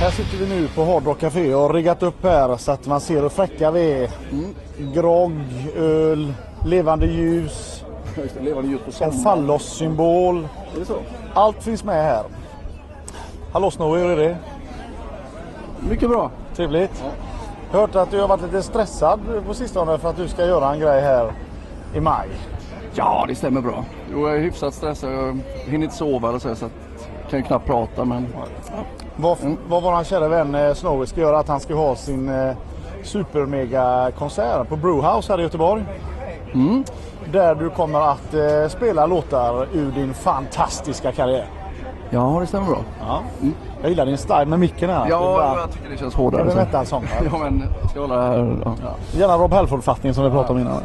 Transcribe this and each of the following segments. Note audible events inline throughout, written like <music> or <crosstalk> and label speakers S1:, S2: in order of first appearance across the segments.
S1: här sitter vi nu på Hard Rock Café och har riggat upp här så att man ser hur fräcka vi är. Mm. Grogg, öl, levande ljus,
S2: Just det, levande ljus på
S1: en
S2: sommaren.
S1: fallossymbol.
S2: Är det så?
S1: Allt finns med här. Hallå Snowy, hur är det?
S2: Mycket bra.
S1: Trevligt. Hört att du har varit lite stressad på sistone för att du ska göra en grej här i maj.
S2: Ja, det stämmer bra. Jo, jag är hyfsat stressad. Jag hinner inte sova eller så, så att jag kan ju knappt prata. Men
S1: Vad, vad vår kära vän eh, Snowy ska göra att han ska ha sin eh, supermega-konsert på Brewhouse här i Göteborg.
S2: Mm.
S1: Där du kommer att eh, spela låtar ur din fantastiska karriär. Mm.
S2: ja, det stämmer bra.
S1: Jag gillar din style med micken här.
S2: Ja, jag tycker det känns hårdare.
S1: det är
S2: så.
S1: metal sång.
S2: Ja, men jag ska hålla här. Ja.
S1: Gärna Rob Halford-fattning som vi pratade om innan.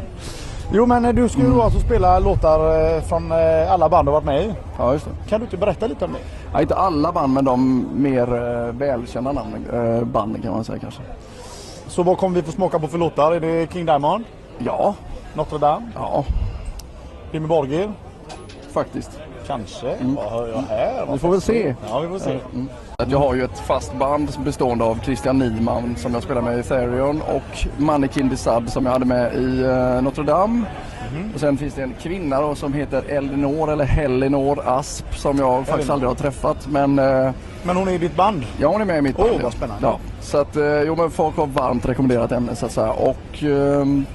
S1: Jo men eh, du ska ju
S2: Mm.
S1: alltså spela låtar eh, från eh, alla band du har varit med i.
S2: ja, just det.
S1: Kan du inte berätta lite om det?
S2: Ja, inte alla band, men de mer eh, välkända namnen, eh, banden kan man säga kanske.
S1: Så vad kommer vi få smaka på för låtar? Är det King Diamond?
S2: Ja,
S1: Notre Dame?
S2: ja,
S1: Jimmy Borgir?
S2: faktiskt.
S1: Kanske. Vad hör jag här?
S2: Vi får väl se.
S1: Ja, vi Mm. får se. Mm.
S2: Att jag har ju ett fast band bestående av Christian Niman som jag spelar med i Therion och Mannequin the Sub som jag hade med i eh, Notre Dame.
S1: Mhm.
S2: Och sen finns det en kvinna då som heter Elinor eller Helinor Asp som jag faktiskt aldrig har träffat men eh,
S1: Men hon är i ditt band.
S2: ja hon är med i mitt
S1: Åh,
S2: ja.
S1: vad spännande.
S2: Ja. Så att eh, jo men folk har varmt rekommenderat ämnet så att säga och ehm,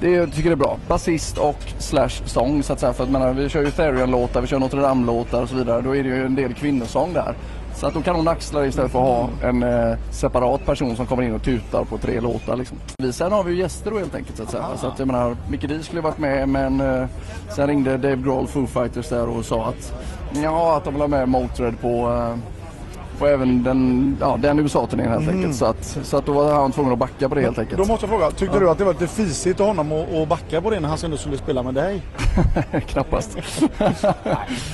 S2: det är- jag tycker det är bra. Basist och slash sång så att säga. För att jag menar, vi kör ju Therion-låtar, vi kör Notre Dame-låtar och så vidare. Då är det ju en del kvinnosång där. Så att då kan hon axla det istället för att ha en eh, separat person som kommer in och tutar på tre låtar liksom. Vi, sen har vi ju gäster då helt enkelt så att säga. Så att jag menar, Mickey D skulle varit med men eh, sen ringde Dave Grohl Foo Fighters där och sa att ja, att de vill ha med Motörhead på eh, på även den, ja, den USA-turnén helt enkelt. Så att, så att då var han tvungen att backa på det helt enkelt.
S1: Då måste jag fråga, tyckte du att det var lite fisigt av honom att att backa på det när han sen skulle spela med dig?
S2: <laughs> Knappast.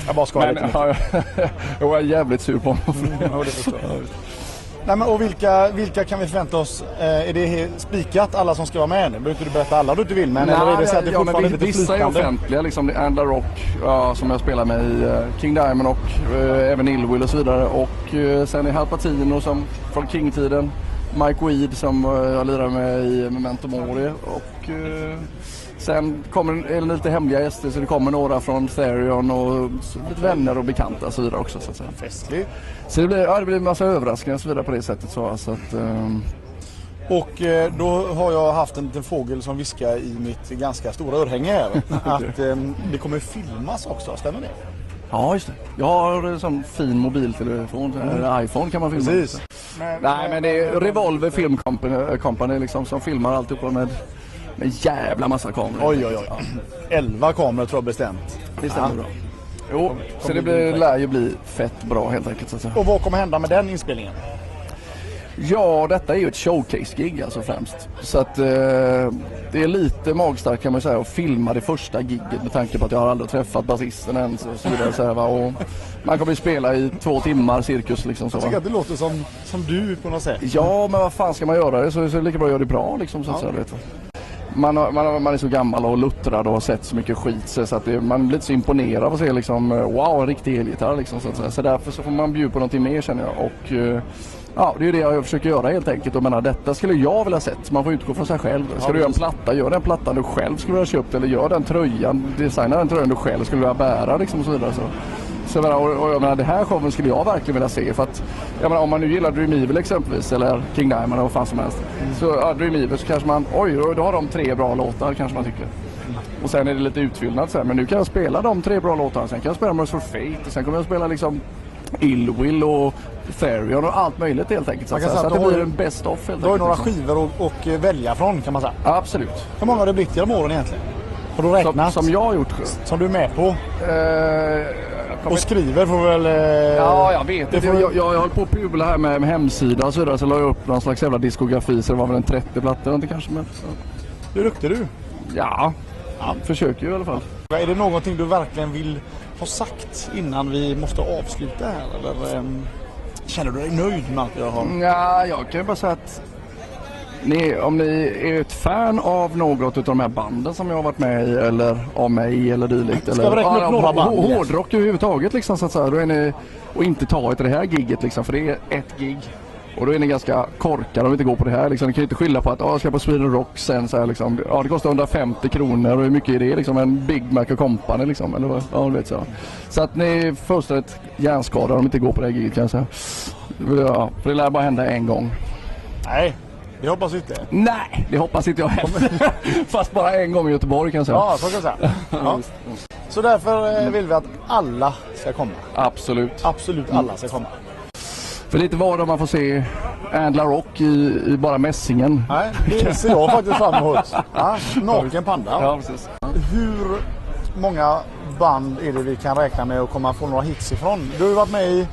S1: Jag bara skojar lite.
S2: Men, ja, <laughs> jag är jävligt sur på honom. för det.
S1: Ja, det förstår jag. Nej, men, och vilka, vilka kan vi förvänta oss? Eh, är det he- spikat alla som ska vara med? Nu behöver inte du berätta alla du inte vill, men eller är det så att det
S2: ja, men
S1: fortfarande är lite
S2: vissa är
S1: flytande?
S2: offentliga. Liksom, det är Andla Rock ja, som jag spelar med i eh, King Diamond och eh, även Illwill och så vidare. Och eh, sen är Hal Patino som, från King-tiden. Mike Weed som eh, jag lirar med i Memento Mori. Och, eh, sen kommer en- är det lite hemliga gäster så det kommer några från Therion och så, lite vänner och bekanta och så vidare också. Så, att säga.
S1: Festligt.
S2: så det blir ja, det blir en massa överraskningar och så vidare på det sättet. Så, så att, ehm,
S1: Och eh, då har jag haft en liten fågel som viskar i mitt ganska stora örhänge <laughs> här att eh, det kommer filmas också, stämmer det?
S2: Ja, just det. Jag har en sån fin mobiltelefon. Eller iPhone kan man filma. Nej, men det är Revolver Film Company, Company liksom, som filmar alltihopa med en jävla massa kameror.
S1: Oj, oj, oj. Elva kameror tror jag bestämt.
S2: det stämmer bra. Jo, så det blir, lär ju bli fett bra helt enkelt. Så att säga.
S1: Och vad kommer hända med den inspelningen?
S2: Ja, detta är ju ett showcase-gig alltså främst. Så att eh, det är lite magstarkt kan man säga att filma det första giget med tanke på att jag har aldrig träffat basisten ens och så vidare. Så här, va? Och man kommer ju spela i två timmar cirkus liksom. Så, va?
S1: Jag tycker att det låter som, som du på något sätt.
S2: Ja, men vad fan ska man göra det? Så, så är det lika bra att göra det bra liksom. Så att säga, du vet. Man, har- man, har- man är så gammal och luttrad och har sett så mycket skit så så att det, man blir lite så imponerad av att se liksom, eh, wow, en riktig elgitarr liksom. Så, att säga. så därför så får man bjuda på någonting mer känner jag. Och, eh, ja, det är ju det jag försöker göra helt enkelt. Och menar, detta skulle jag vilja sett. Man får utgå från sig själv. Ska du göra en platta, gör den plattan du själv skulle vilja ha köpt. Eller gör den tröjan, designa den tröjan du själv skulle vilja bära liksom och så vidare. Så. Så jag menar, och, och jag menar, det här showen skulle jag verkligen vilja se. För att, jag menar, om man nu gillar Dream Evil exempelvis, eller King Diamond eller vad fan som helst. Så ja, Dream Evil så kanske man, oj, då då har de tre bra låtar kanske man tycker. Och sen är det lite utfyllnad sen, men nu kan jag spela de tre bra låtarna. Sen kan jag spela Merciful Fate och sen kommer jag spela liksom Illwill och Therion och allt möjligt helt enkelt. Så,
S1: Man
S2: att
S1: kan
S2: säga. så
S1: säga
S2: att
S1: att
S2: det
S1: du har
S2: blir
S1: ju-
S2: en best of helt
S1: Du har ju några
S2: liksom.
S1: skivor att och eh, välja från kan man säga.
S2: Absolut.
S1: Hur många har det blivit genom åren egentligen? Har du
S2: Som,
S1: räknat?
S2: som jag har gjort.
S1: Som du är med på?
S2: Eh, jag kommer
S1: Och skriver får väl... eh,
S2: Ja, jag vet
S1: det
S2: inte.
S1: får
S2: Jag, jag, jag höll på att pula här med, med hemsida och så vidare. Så la jag upp någon slags jävla diskografi så det var väl en 30 plattor eller någonting kanske. Men, så.
S1: Hur duktig du
S2: Ja. ja, försöker ju i alla fall.
S1: är. Är det någonting du verkligen vill ha sagt innan vi måste avsluta här? Eller, ehm, känner du dig nöjd med allt jag har?
S2: Ja, jag kan ju bara säga att Ni, om ni är ett fan av något av de här banden som jag har varit med i eller av mig eller dylikt.
S1: Ska vi
S2: eller,
S1: räkna upp
S2: ja,
S1: några
S2: hå-
S1: band, yes.
S2: Hårdrock överhuvudtaget liksom så att säga. Då är ni, och inte ta ett det här giget liksom för det är ett gig. Och då är ni ganska korkade om vi inte går på det här. Liksom. Ni kan ju inte skylla på att ah, jag ska på Sweden Rock sen. Så här, liksom. ja, det kostar 150 kronor och hur mycket är det? Liksom, en Big Mac och Company liksom. Eller vad? Ja, du vet, så. så att ni är fullständigt hjärnskadade om ni inte går på det här giget kan jag säga. Ja, för det lär bara hända en gång.
S1: Nej, det hoppas vi inte.
S2: Nej, det hoppas inte jag heller. <laughs> Fast bara en gång i Göteborg kan jag säga.
S1: Ja, så kan jag
S2: <laughs>
S1: säga. Ja. Så därför eh, vill vi att alla ska komma.
S2: Absolut.
S1: Absolut alla ska komma.
S2: För lite var då man får se Andla Rock i, i bara mässingen.
S1: Nej, <laughs> det ser jag faktiskt fram emot. Ja, naken panda.
S2: precis.
S1: Hur många band är det vi kan räkna med att komma få några hits ifrån? Du har ju varit med i...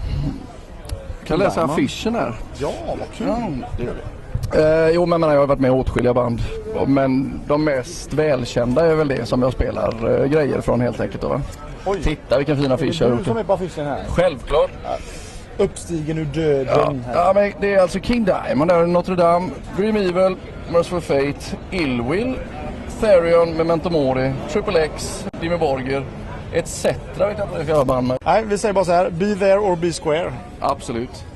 S2: Kan jag läsa
S1: Lärman.
S2: affischen här?
S1: Ja, vad kul!
S2: Mm,
S1: Det gör vi.
S2: Eh, jo, men jag har varit med i åtskilliga band. Men de mest välkända är väl det som jag spelar eh, grejer från helt enkelt. Då. va?
S1: Oj,
S2: Titta vilken fin affisch jag
S1: är
S2: har
S1: det du som
S2: gjort.
S1: är på affischen här?
S2: Självklart.
S1: Uppstigen ur
S2: Ja.
S1: döden. här.
S2: ja, men det är alltså King Diamond där, Notre Dame, Grim Evil, Merciful Fate, Illwill, Therion, Memento Mori, Triple X, Dimmy Borger, etc. vet jag inte vad jag ska göra band med.
S1: Nej, vi säger bara så här. Be there or be square.
S2: Absolut.